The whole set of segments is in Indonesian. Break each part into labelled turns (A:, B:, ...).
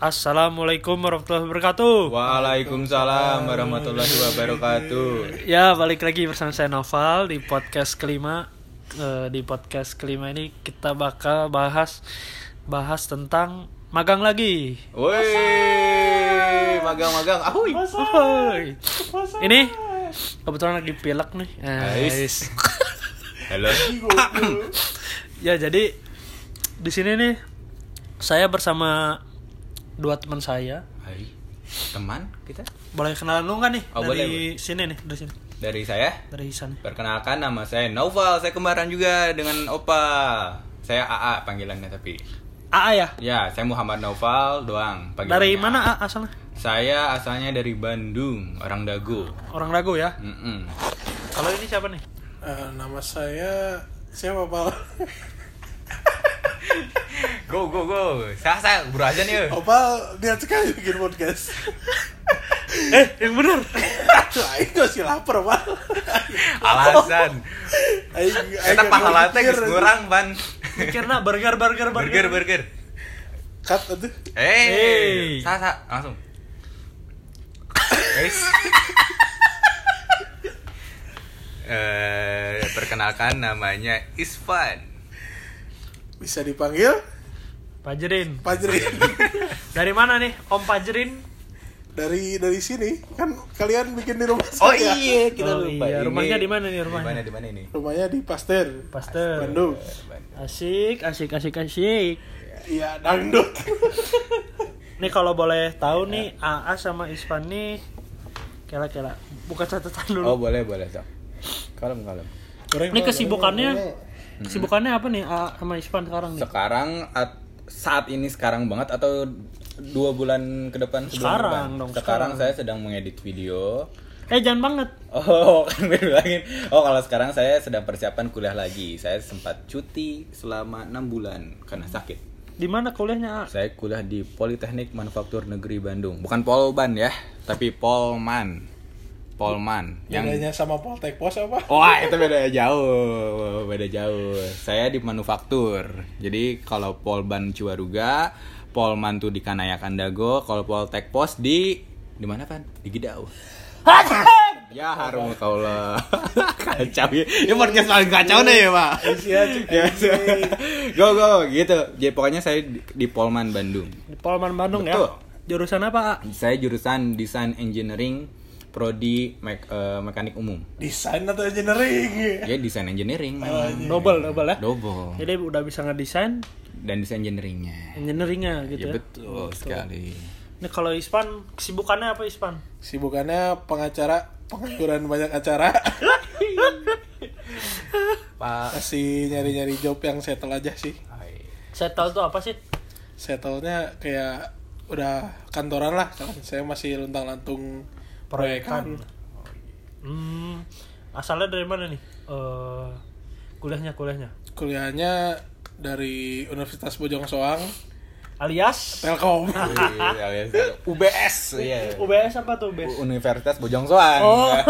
A: Assalamualaikum warahmatullahi wabarakatuh.
B: Waalaikumsalam warahmatullahi wabarakatuh.
A: Ya, balik lagi bersama saya Noval di podcast kelima. Eh, di podcast kelima ini kita bakal bahas bahas tentang magang lagi.
B: Woi, magang-magang. Ahoy.
A: Ahoy. Ini kebetulan lagi pilek nih. Eh,
B: Ais. Halo.
A: ya, jadi di sini nih saya bersama dua teman saya.
B: Hai. Teman kita
A: Boleh kenalan dulu kan nih
B: Oh,
A: dari
B: boleh,
A: sini nih, dari sini.
B: dari saya.
A: Dari Isan. nih.
B: Perkenalkan nama saya Noval. Saya kembaran juga dengan Opa. Saya AA panggilannya tapi.
A: AA ya?
B: Ya, saya Muhammad Noval doang panggilannya.
A: Dari mana A asalnya?
B: Saya asalnya dari Bandung, orang Dago.
A: Orang Rago ya.
B: Mm-mm.
A: Kalau ini siapa nih?
C: Eh, nama saya siapa Pal?
B: Go go go. Saya saya ya. buru aja nih. yuk.
C: Opal niat Oh, sekali bikin podcast.
A: eh, yang benar.
C: Tuh, aing masih lapar Pal.
B: Alasan.
C: Aing aing
B: Kita
C: gak
B: pahala teh
C: mikir,
B: geus
C: anjing.
B: ngurang, Ban.
A: Mikirna burger burger burger.
B: Burger burger.
C: Cut aduh.
A: Hey.
B: Hey. Sa sa langsung. Guys. Eh, perkenalkan namanya Isfan.
C: Bisa dipanggil
A: Pajerin.
C: Pajri.
A: Dari mana nih? Om Pajerin.
C: dari dari sini kan kalian bikin di rumah saya.
B: Oh iya, kita
A: Oh
B: lupa.
A: iya,
B: ini.
A: rumahnya di mana nih rumahnya?
B: Di mana di mana ini?
C: Rumahnya di Pasteur.
A: Pasteur.
C: Bandung.
A: Asik, asik, asik, asik.
C: Iya, dangdut.
A: Nih kalau boleh tahu nih AA sama Ispan nih kela-kela buka catatan
B: Oh,
A: dulu.
B: boleh boleh, Sok. Kalem kalem.
A: Ini kesibukannya kesibukannya apa nih AA sama Ispan sekarang nih?
B: Sekarang at- saat ini sekarang banget atau dua bulan ke depan sebelum
A: Sekarang
B: lebaran?
A: dong,
B: sekarang
A: sekarang.
B: saya sedang mengedit video
A: Eh, jangan banget.
B: Oh, kan gue bilangin. Oh, kalau sekarang saya sedang persiapan kuliah lagi. Saya sempat cuti selama enam bulan karena sakit.
A: Di mana kuliahnya? AA?
B: Saya kuliah di Politeknik Manufaktur Negeri Bandung. Bukan Polban ya, tapi Polman. Polman yang
C: Bedanya sama Poltek Pos apa?
B: Wah, itu beda jauh. Beda jauh. Saya di manufaktur. Jadi kalau Polban Ciwaruga, Polman tuh di Kanayakan Dago, kalau Poltek Pos di di mana kan? Di Gidau. Ya harum kau lah kacau ya. Ini podcast paling kacau nih ya pak.
C: Iya, cik.
B: Ya, go go gitu. Jadi pokoknya saya di, di Polman Bandung.
A: Di Polman Bandung
B: Betul.
A: ya. Jurusan apa, AA?
B: Saya jurusan Design Engineering, Prodi Mek- eh, Mekanik Umum.
C: Desain atau engineering?
B: Ya Design Engineering memang.
A: Double, double ya.
B: Double.
A: Jadi udah bisa ngedesain
B: Dan Design Engineeringnya.
A: engineeringnya gitu
B: Ya
A: ya.
B: betul sekali.
A: Nah kalau Ispan kesibukannya apa Ispan?
C: Sibukannya pengacara, pengaturan banyak acara.
B: Pak.
C: masih nyari-nyari job yang settle aja sih
A: Settle tuh apa sih?
C: settlenya kayak udah kantoran lah kan saya masih kan. luntang lantung proyekan
A: Kan? Hmm, asalnya dari mana nih? Eh, kuliahnya kuliahnya.
C: kuliahnya dari Universitas Bojong Soang
A: Alias
C: Telkom
B: Iya, UBS. Iya.
A: UBS apa tuh UBS?
B: Universitas Bojong Soang.
A: Oh.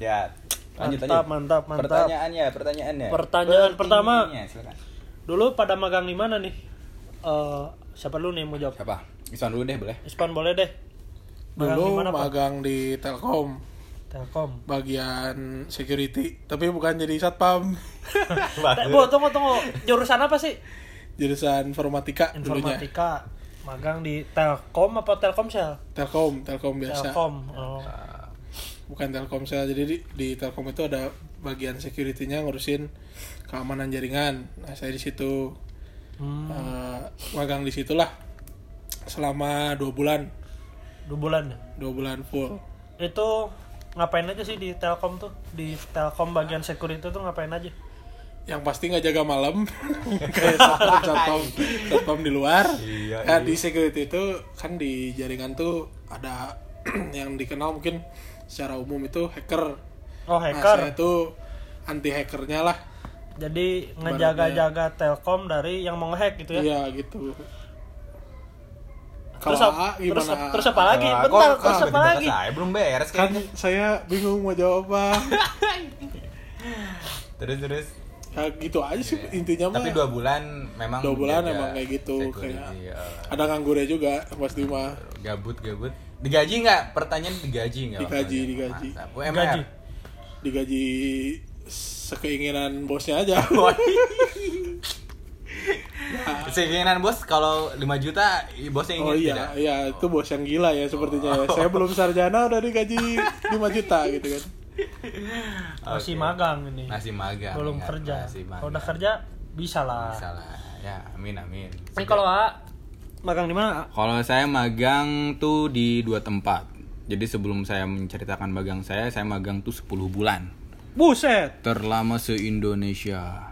B: ya. Lanjut
A: Mantap,
B: lanjut.
A: mantap, mantap.
B: Pertanyaannya, pertanyaannya.
A: Pertanyaan pertama.
B: Pertanyaannya, silakan.
A: Dulu pada magang di mana nih? Eh, siapa dulu nih yang mau jawab?
B: Siapa? Isan dulu deh boleh.
A: Ispan boleh deh. Magang di
C: dulu
A: mana, Pak?
C: magang di Telkom
A: Telkom.
C: bagian security tapi bukan jadi satpam
A: Eh, Bu, tunggu tunggu. Jurusan apa sih?
C: jurusan informatika dulunya
A: Informatika. Magang di Telkom apa Telkomsel?
C: Telkom Telkom biasa
A: Telkom. Oh.
C: bukan Telkomsel. Jadi di, di Telkom itu ada bagian security-nya ngurusin keamanan jaringan. Nah, saya di situ
A: Hmm,
C: eh, magang di situlah selama dua bulan,
A: dua bulan ya.
C: dua bulan full.
A: itu ngapain aja sih di Telkom tuh di Telkom bagian security tuh ngapain aja
C: Yang pasti nggak jaga malam, kayak satpam, satpam, satpam di luar.
B: Iya,
C: Nah, di security itu kan di jaringan tuh ada yang dikenal mungkin secara umum itu hacker.
A: oh
C: Nah, saya
A: hacker
C: itu anti hackernya lah.
A: jadi ngejaga-jaga Telkom dari yang mau ngehack gitu ya
C: Iya gitu.
A: terus
C: Kalau
A: ap-
C: A gimana?
A: terus,
C: A?
A: terus apa lagi
B: Ah,
A: bentar
B: kok-
A: terus apa
B: kok tiba-tiba
A: lagi
B: Saya belum beres
C: kan
B: kayaknya.
C: saya bingung mau jawab apa.
B: Terus terus.
C: ya gitu aja sih intinya mah
B: Tapi
A: ya?
B: dua bulan memang
C: Dua bulan
B: menjaga
C: emang kayak gitu,
B: security,
C: kayak-
B: ya.
C: ada nganggurnya juga pasti mah
B: gabut gabut digaji nggak pertanyaan digaji nggak waktu
C: Digaji,
B: itu?
C: digaji.
B: Mantap. UMR
A: Gaji.
C: digaji sekeinginan bosnya aja
B: Oh, iya, Seinginan bos kalau 5 juta i- bosnya ingin
C: oh iya
B: tidak Oh.
C: iya itu bos yang gila ya sepertinya ya. saya belum sarjana udah digaji 5 juta gitu kan
A: masih
B: Oke.
A: magang ini
B: masih magang
A: belum
B: ingat,
A: kerja
B: masih magang.
A: kalau udah kerja bisa lah
B: salah ya amin amin
A: ini kalau A magang di mana A?
B: Kalau saya magang tuh di dua tempat. Jadi sebelum saya menceritakan magang saya, saya magang tuh 10 bulan.
A: buset
B: Terlama se-Indonesia.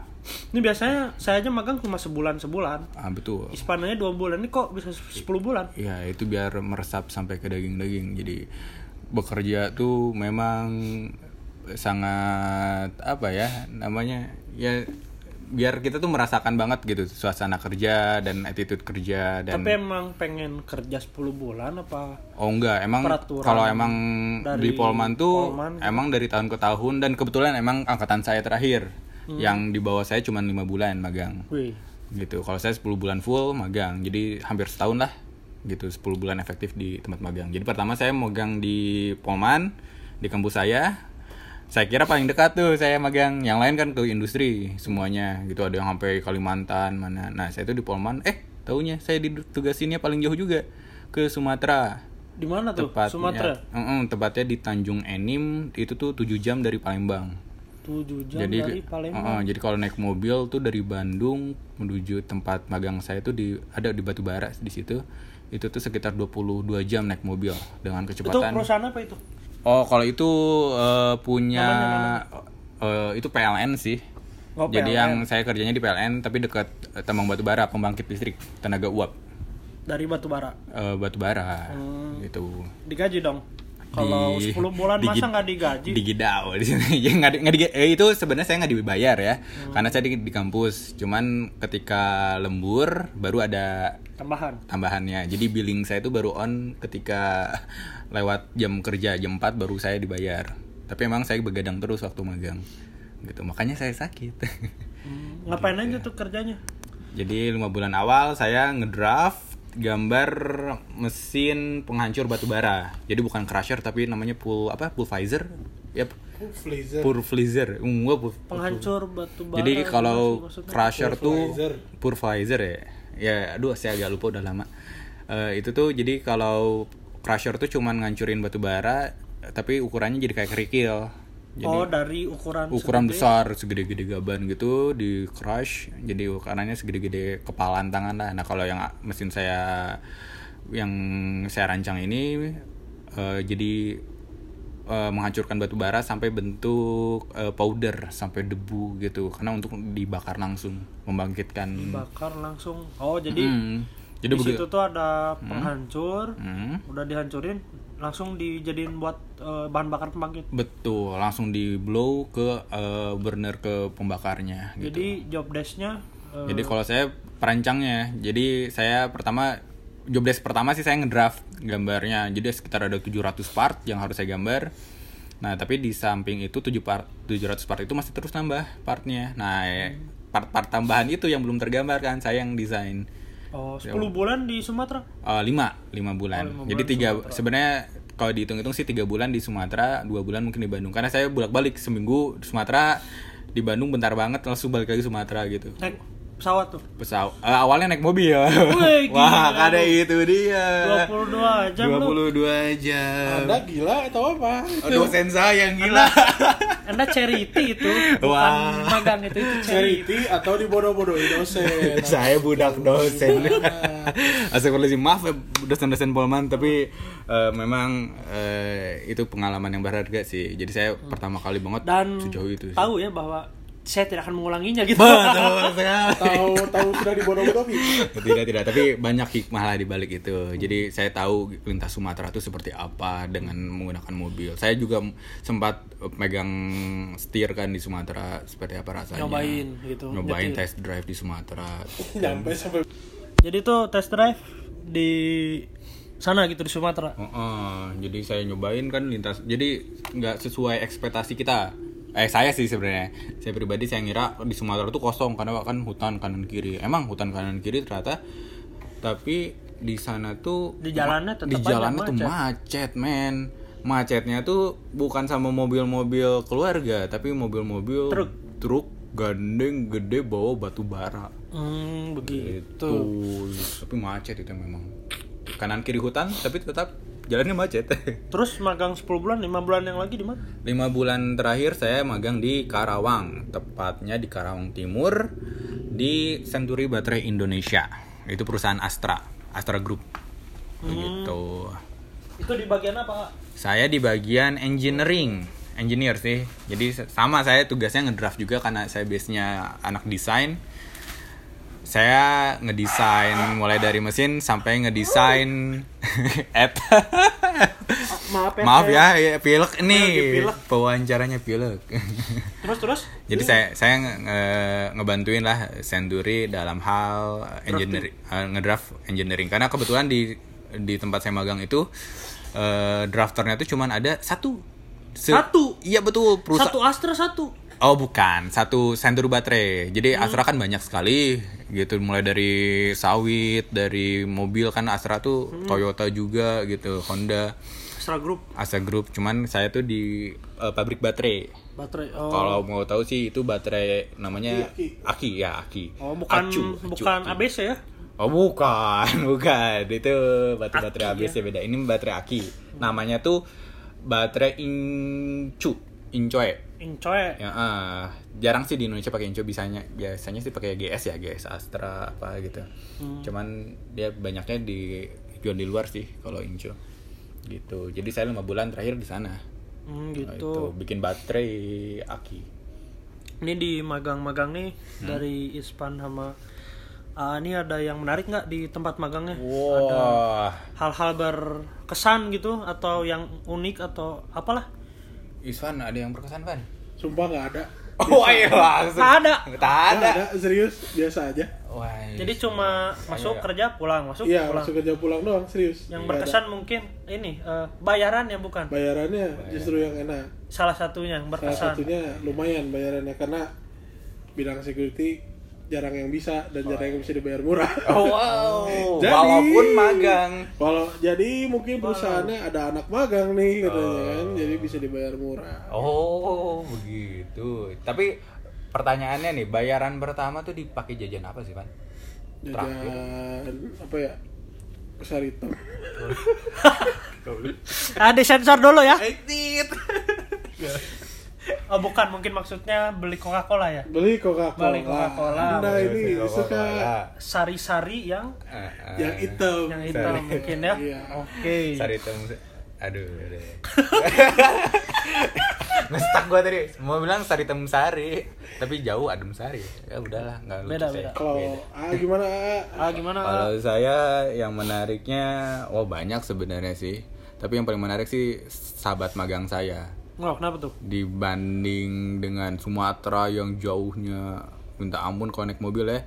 A: ini biasanya saya aja magang cuma sebulan sebulan
B: Ah, betul.
A: Ispananya dua bulan ini kok bisa 10 bulan
B: Ya, itu biar meresap sampai ke daging-daging. Jadi bekerja tuh memang sangat apa ya namanya? Ya biar kita tuh merasakan banget gitu suasana kerja dan attitude kerja dan
A: tapi emang pengen kerja 10 bulan apa
B: Oh enggak, emang
A: Peraturan
B: kalau emang
A: dari
B: di Polman tuh
A: Polman gitu.
B: emang dari tahun ke tahun dan kebetulan emang angkatan saya terakhir
A: Hmm.
B: yang di bawah saya cuma lima bulan magang
A: wih
B: gitu. Kalau saya 10 bulan full magang, jadi hampir setahun lah gitu 10 bulan efektif di tempat magang. Jadi pertama saya magang di Polman di kampus saya. Saya kira paling dekat tuh saya magang. Yang lain kan ke industri semuanya gitu. Ada yang sampai Kalimantan mana. Nah, saya tuh di Polman eh taunya saya ditugasinnya paling jauh juga ke Sumatera
A: di mana tuh
B: tepatnya
A: Sumatera
B: Mm-mm, tepatnya di Tanjung Enim itu tuh 7 jam dari Palembang
A: 7 jam
B: jadi
A: dari Palembang
B: Mm-mm, jadi kalau naik mobil tuh dari Bandung menuju tempat magang saya tuh di ada di Batubara di situ itu tuh sekitar 22 jam naik mobil dengan
A: itu
B: kecepatan
A: perusahaan apa itu
B: oh kalau itu eh, punya eh, itu PLN sih
A: Oh, PLN.
B: jadi yang saya kerjanya di PLN tapi dekat eh, tambang batubara pembangkit listrik tenaga uap
A: dari Batubara
B: eh, batubara
A: Oh.
B: gitu
A: digaji dong kalau
B: Di-
A: 10 bulan
B: digi-
A: masa nggak digaji
B: digidau di sini ya nggak di- nggak di- eh, itu sebenarnya saya nggak dibayar ya karena saya di, di kampus cuman ketika lembur baru ada
A: tambahan
B: tambahannya jadi billing saya itu baru on ketika lewat jam kerja jam 4 baru saya dibayar tapi emang saya begadang terus waktu magang gitu makanya saya sakit Hmm,
A: ngapain aja tuh kerjanya
B: jadi lima bulan awal saya ngedraft gambar mesin penghancur batu bara jadi bukan crusher tapi namanya pull apa pulverizer ya
C: Blazer
B: Purvlizer, um, gua pur-
A: penghancur gitu batu bara
B: Jadi kalau
A: maksudnya.
B: crusher tuh
C: Purvlizer.
B: Purvlizer ya. Ya, aduh saya agak lupa udah lama. Eh, itu tuh jadi kalau crusher tuh cuman ngancurin batu bara eh, tapi ukurannya jadi kayak kerikil. Jadi
A: oh dari ukuran
B: ukuran
A: segede.
B: besar segede-gede gaban gitu di crush jadi ukurannya segede-gede kepalan tangan lah nah kalau yang a- mesin saya yang saya rancang ini eh, jadi eh, menghancurkan batu bara sampai bentuk eh, powder sampai debu gitu karena untuk dibakar langsung membangkitkan
A: bakar langsung oh jadi
B: Hmm. jadi
A: di
B: begi-
A: situ tuh ada penghancur
B: Hmm.
A: udah dihancurin langsung dijadiin buat eh, bahan bakar pembangkit
B: betul langsung di blow ke eh, burner ke pembakarnya gitu. Ya.
A: jadi job desknya eh,
B: Jadi kalau saya perancangnya, jadi saya pertama jobdesk pertama sih saya ngedraft gambarnya. Jadi sekitar ada 700 part yang harus saya gambar. Nah, tapi di samping itu 7 part 700 part itu masih terus nambah partnya. Nah, eh, part-part tambahan itu yang belum tergambarkan saya yang desain.
A: oh 10 bulan di Sumatera
B: 5 5 bulan. Jadi tiga sebenarnya kalau dihitung-hitung sih tiga bulan di Sumatera, dua bulan mungkin di Bandung. Karena saya bolak-balik seminggu di Sumatera, di Bandung bentar banget langsung balik lagi Sumatera gitu
A: naik pesawat tuh
B: pesawat eh, awalnya naik mobil
A: Wih,
B: wah
A: gila.
B: kada itu dia
A: 22 jam lu
B: 22 jam
C: anda gila atau apa
B: Oh, dosen saya yang gila
A: anda charity itu bukan
B: Wah.
A: magang itu itu charity
C: charity atau dibodoh-bodohin dosen
B: saya budak dosen Astagfirullahaladzim, maaf ya dosen-dosen Polman tapi eh, memang eh, itu pengalaman yang berharga sih jadi saya pertama kali banget
A: Hmm. dan
B: sejauh itu sih.
A: tahu ya bahwa saya tidak akan mengulanginya gitu
B: Betul sekali.
C: tahu tahu sudah dibodoh-bodohin
B: tidak tidak tapi banyak hikmah lah di balik itu
A: Hmm.
B: jadi saya tahu lintas Sumatera itu seperti apa dengan menggunakan mobil saya juga m- sempat eh, megang setir kan di Sumatera seperti apa rasanya
A: Nyobain gitu,
B: nyobain
A: nyetir.
B: test drive di Sumatera
C: nyampe sampai
A: jadi tuh test drive di sana gitu di Sumatera
B: Oh, oh, jadi saya nyobain kan lintas jadi nggak sesuai ekspektasi kita eh saya sih sebenarnya saya pribadi saya ngira di Sumatera tuh kosong karena kan hutan kanan kiri emang hutan kanan kiri ternyata tapi di sana tuh
A: Di jalannya tetap
B: di
A: aja
B: jalannya tuh
A: macet.
B: macet men macetnya tuh bukan sama mobil-mobil keluarga tapi mobil-mobil
A: Truk.
B: truk gandeng gede bawa batu bara
A: Hmm, begitu.
B: itu tapi macet itu memang kanan kiri hutan tapi tetap jalannya macet
A: Terus magang 10 bulan, 5 bulan yang lagi di mana?
B: lima bulan terakhir saya magang di Karawang tepatnya di Karawang Timur di Century Baterai Indonesia itu perusahaan Astra Astra Group
A: Hmm.
B: Gitu. begitu
A: Itu di bagian apa? Kak?
B: saya di bagian engineering engineer sih jadi sama saya tugasnya ngedraft juga karena saya biasanya anak desain saya ngedesain mulai dari mesin sampai ngedesain app
A: Maaf ya.
B: maaf
A: saya-
B: ya, ya pilek
A: lagi
B: nih
A: pilek.
B: pewawancaranya pilek
A: Terus terus
B: jadi saya saya nge- nge- ngebantuin lah Senduri dalam hal engineering eh, ngedraft engineering karena kebetulan di di tempat saya magang itu eh, drafternya itu cuman ada satu Se-
A: Satu?
B: iya betul perusa-
A: satu Astra satu.
B: Oh bukan, satu Senduro baterai. Jadi
A: Hmm.
B: Astra kan banyak sekali gitu, mulai dari sawit, dari mobil kan Astra tuh
A: Hmm.
B: Toyota juga gitu, Honda,
A: Astra Group
B: Astra Group. Cuman saya tuh di eh, pabrik baterai.
A: baterai. Oh.
B: Kalau mau tahu sih itu baterai namanya Aki, ya Aki.
A: Oh, bukan
B: Acu, Acu,
A: bukan
B: Aki.
A: ABC ya.
B: Oh bukan, bukan. Itu baterai-baterai ABC beda. Ini baterai Aki. Namanya tuh baterai Incu, Incoe.
A: Incoe.
B: Ya, ah. jarang sih di Indonesia pakai Inco bisanya biasanya sih pakai GS ya GS Astra apa gitu cuman dia banyaknya di jual di luar sih kalau Inco gitu jadi saya lima bulan terakhir di sana
A: Hmm,
B: Nah,
A: gitu.
B: itu bikin baterai aki
A: Ini di magang-magang nih
C: Hmm.
A: dari Ispan sama Ah, ini ada yang menarik nggak di tempat magangnya?
B: wah
A: Hal-hal berkesan gitu atau yang unik atau apalah?
B: Iswan ada yang berkesan Van?
C: Sumpah nggak ada.
B: Oh ayo langsung.
C: Iya.
A: Tak ada.
B: Tak ada.
C: Nggak ada serius biasa aja.
B: Wah. iya.
A: Jadi cuma masuk kerja pulang, masuk
C: Iya
A: pulang.
C: masuk kerja pulang doang serius.
A: Yang
C: Nggak ada.
A: berkesan mungkin ini eh, bayaran ya bukan?
C: Bayarannya justru yang enak.
A: Salah satunya yang
C: Salah
A: berkesan.
C: satunya lumayan bayarannya karena bidang security jarang yang bisa dan jarang yang bisa dibayar murah.
B: Oh, wow.
C: Jadi-
B: Walaupun magang.
C: Kalau jadi mungkin perusahaannya ada anak magang nih katanya kan, jadi bisa dibayar murah.
B: Oh begitu. Tapi pertanyaannya nih, bayaran pertama tuh dipakai jajan apa sih, Van?
C: Jajan apa ya? Besar itu.
A: Ada sensor dulu ya.
B: Exit.
C: Eh.
A: Oh, bukan, mungkin maksudnya beli Coca-Cola ya.
C: Beli Coca-Cola.
A: Beli Coca-Cola.
C: Nah, ini suka
B: ya.
A: Sari-sari yang
B: Ah,
C: yang hitam.
A: yang hitam mungkin ya.
C: Iya.
A: Oke.
B: Sari hitam. Aduh, aduh. Ngestak gua tadi. Mau bilang sari hitam sari, tapi jauh adem sari. Ya udahlah, nggak lucu
A: Beda,
B: saya.
A: beda.
C: Kalau ah gimana? Ah?
A: Ah gimana?
B: Kalau saya yang menariknya, wah banyak sebenarnya sih. Tapi yang paling menarik sih sahabat magang saya.
A: Nggak, kenapa tuh?
B: Dibanding dengan Sumatera yang jauhnya minta ampun kalau naik mobil ya.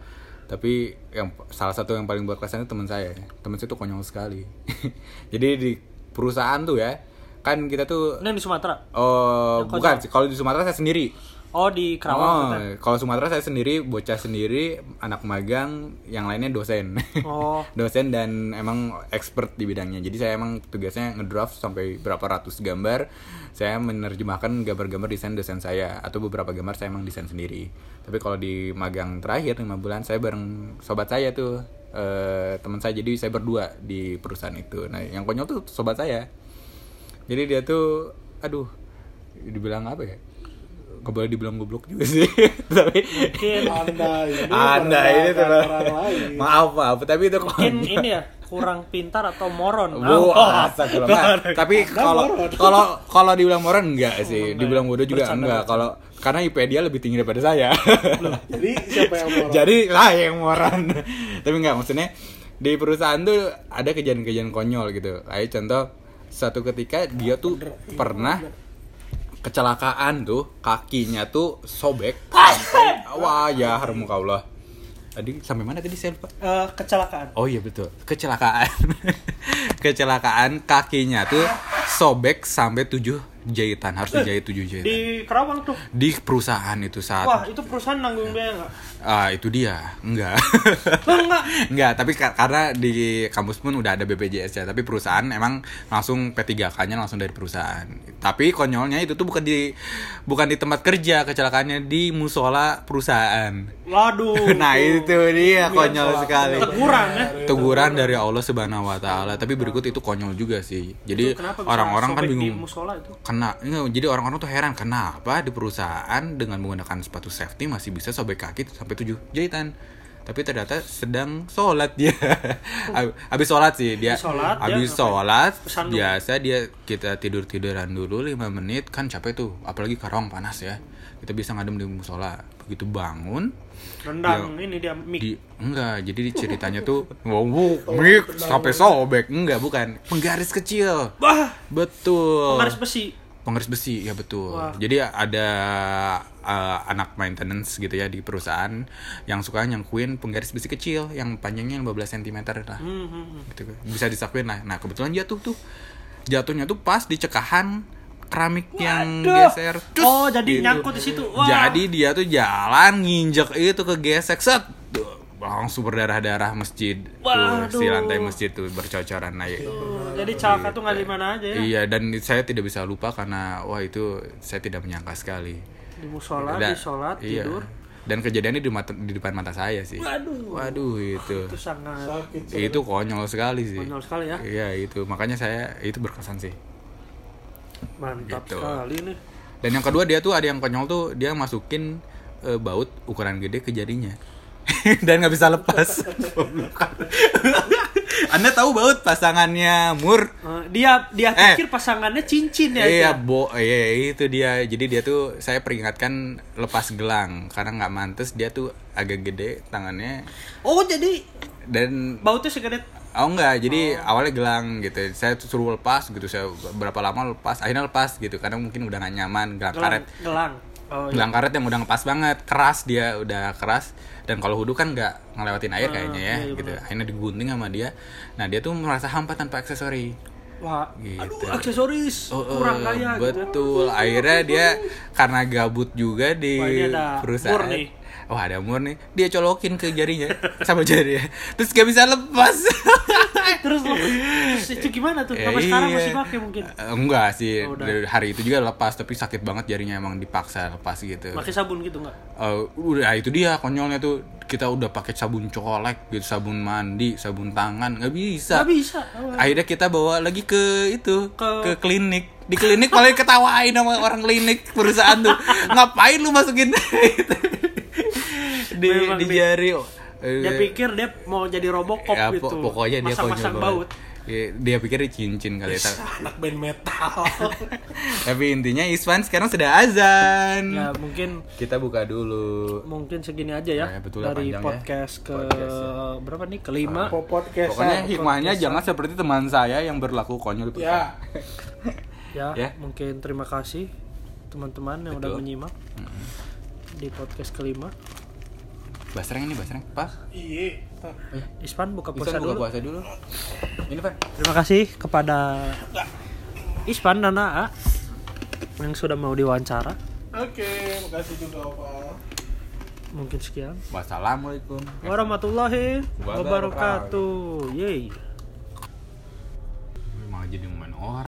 B: Tapi yang salah satu yang paling berkesan itu teman saya. Teman saya tuh konyol sekali. Jadi di perusahaan tuh ya, kan kita tuh
A: Ini yang di Sumatera.
B: Oh, bukan. Kalau di Sumatera saya sendiri.
A: Oh di Kerawang.
B: Oh, kalau Sumatera saya sendiri, bocah sendiri, anak magang, yang lainnya dosen.
A: Oh.
B: dosen dan emang expert di bidangnya. Jadi saya emang tugasnya ngedraft sampai berapa ratus gambar. Saya menerjemahkan gambar-gambar desain dosen saya atau beberapa gambar saya emang desain sendiri. Tapi kalau di magang terakhir lima bulan saya bareng sobat saya tuh eh, teman saya. Jadi saya berdua di perusahaan itu. Nah, yang konyol tuh sobat saya. Jadi dia tuh aduh dibilang apa ya? Gak boleh dibilang goblok juga sih. Tapi
A: Mungkin
B: Oh,
C: Anda
B: anda
C: ini merendahkan
B: ini tuh
C: orang lain.
B: maaf maaf tapi itu
A: mungkin ini ya kurang pintar atau moron.
B: Bu,
A: Ah,
B: astagfirullah. Nah, tapi kalau
C: moron.
B: kalau kalau dibilang moron enggak sih, dibilang bodoh juga enggak. Kalau karena IP dia lebih tinggi daripada saya.
C: Jadi siapa yang mau?
B: Jadi saya yang moron. tapi enggak maksudnya di perusahaan tuh ada kejadian-kejadian konyol gitu. Ayo contoh satu ketika dia tuh pernah kecelakaan tuh kakinya tuh sobek sampai wah ya harmukaullah. Tadi sampai mana tadi saya lupa.
A: eh, kecelakaan.
B: Oh iya betul. Kecelakaan. Kecelakaan kakinya tuh sobek sampai 7 jahitan harus dijahit tujuh jahitan
A: Di Kerawang tuh.
B: di perusahaan itu saat
A: Wah, itu perusahaan nanggung biaya nggak?
B: ah itu dia enggak
A: Lah, nggak.
B: enggak tapi ka- karena di kampus pun udah ada BPJS ya tapi perusahaan emang langsung P3K-nya langsung dari perusahaan tapi konyolnya itu tuh bukan di bukan di tempat kerja kecelakaannya di musola perusahaan
A: Waduh.
B: nah itu dia konyol sekali
A: Teguran ya.
B: teguran dari Allah Subhanahu wa taala tapi berikut itu konyol juga sih jadi
A: Itu kenapa bisa
B: orang-orang kan
A: sobek
B: bingung
A: Di musola itu.
B: kena enggak, jadi orang-orang tuh heran kenapa di perusahaan dengan menggunakan sepatu safety masih bisa sobek kaki sampai tujuh jahitan tapi ternyata sedang sholat dia Ab- abis sholat sih dia
A: Abis sholat, dia
B: abis
A: ngapain?
B: sholat
A: Pesan dulu.
B: biasa dia kita tidur tiduran dulu 5 menit kan capek tuh apalagi karong panas ya kita bisa ngadem di musola begitu bangun
A: Rendang ini dia mik.
B: Iya. di enggak jadi di ceritanya tuh wow, wow mik sampai sobek enggak bukan penggaris kecil
A: Wah,
B: betul
A: harus besi.
B: Penggaris besi ya betul.
A: Wah.
B: Jadi ada uh, anak maintenance gitu ya di perusahaan yang suka nyangkuin penggaris besi kecil yang panjangnya 15 cm lah.
A: Hmm, hmm, hmm.
B: Gitu. Bisa disakuin lah. Nah, kebetulan jatuh tuh. Jatuhnya tuh pas di cekahan keramik yang
A: Waduh.
B: Hmm, geser. Gitu.
A: Oh, jadi nyangkut di situ. Wah.
B: Jadi dia tuh jalan nginjek itu ke gesek set. Duh, Langsung berdarah-darah masjid
A: Waduh.
B: tuh si lantai masjid tuh bercocoran naik.
A: Oh, Jadi celaka tuh nggak di mana aja ya?
B: Iya dan saya tidak bisa lupa karena wah itu saya tidak menyangka sekali.
A: Di musola,
B: Dan-
A: di sholat,
B: iya.
A: tidur.
B: Dan kejadiannya di, mata- di depan mata saya sih.
A: Waduh.
B: Waduh itu.
A: Itu sangat
C: sakit
B: Itu konyol sekali sih.
A: konyol sekali ya.
B: Iya itu makanya saya itu berkesan sih.
A: Mantap
B: Gitu.
A: sekali nih.
B: Dan yang kedua dia tuh ada yang konyol tuh dia masukin eh, baut ukuran gede ke jarinya dan nggak bisa lepas. Anda tahu baut pasangannya Mur?
A: Eh, dia dia
B: Eh.
A: pikir pasangannya cincin ya.
B: Iya,
A: dia.
B: bo, iya itu dia. Jadi dia tuh saya peringatkan lepas gelang karena nggak mantes dia tuh agak gede tangannya
A: Oh, jadi
B: dan
A: bautnya segede
B: oh enggak jadi awalnya gelang gitu saya tuh suruh lepas gitu saya berapa lama lepas akhirnya lepas gitu karena mungkin udah gak nyaman gelang
A: gelang.
B: karet
A: Gelang. Oh, iya.
B: gelang karet yang udah ngepas banget keras dia udah keras dan kalau hudu kan nggak ngelewatin air kayaknya ya
A: iya, iya,
B: gitu akhirnya digunting sama dia nah dia tuh merasa hampa tanpa aksesori
A: Wah,
B: Gitu.
A: aduh aksesoris
B: Oh,
A: kurang
B: eh,
A: kaya gitu.
B: betul akhirnya dia karena gabut juga di
A: Wah, ini ada
B: perusahaan
A: mur nih.
B: wah ada mur nih dia colokin ke jarinya sama jarinya terus gak bisa lepas
A: Terus lo, terus itu gimana tuh?
B: Ya,
A: Sampai sekarang
B: iya.
A: masih pakai mungkin.
B: Eh, enggak sih
A: Oh, udah.
B: Dari hari itu juga lepas tapi sakit banget jarinya emang dipaksa lepas gitu
A: Pakai sabun gitu nggak?
B: Eh, udah itu dia konyolnya tuh kita udah pakai sabun colek gitu sabun mandi sabun tangan nggak bisa
A: Nggak bisa.
B: akhirnya kita bawa lagi ke itu ke,
A: Ke-
B: klinik di klinik paling ketawain sama orang klinik perusahaan tuh ngapain lu masukin itu di,
A: Memang
B: di
A: nih.
B: jari
A: Dia
B: Eh,
A: pikir dia mau jadi robokop
B: ya,
A: gitu.
B: po- pokoknya dia
A: Masak-masak baut.
B: konyol
A: Iya.
B: banget. Ya, dia pikir dia cincin kali ya.
C: anak band metal
B: tapi intinya Iswan sekarang sudah azan
A: Ya mungkin
B: kita buka dulu
A: mungkin segini aja ya,
B: Ya, betul lah,
A: dari
B: panjang ya.
A: podcast ke
B: Podcast, ya.
A: berapa nih? Kelima.
C: podcast
B: pokoknya hikmahnya jangan seperti teman saya yang berlaku konyol di perusahaan.
C: ya
A: ya,
B: Ya.
A: mungkin terima kasih teman-teman yang udah
B: Betul.
A: menyimak di podcast kelima.
B: Basreng ini basreng pas
C: iya
A: Ispan buka puasa
B: Iswan buka
A: dulu.
B: puasa dulu ini Pak
A: Terima kasih kepada Ispan dan Aa yang sudah mau diwawancara.
C: oke makasih juga Opa
A: Mungkin sekian.
B: wassalamualaikum
A: Warahmatullahi
B: Ya. Wabarakatuh.
A: wabarakatuh. Yeay.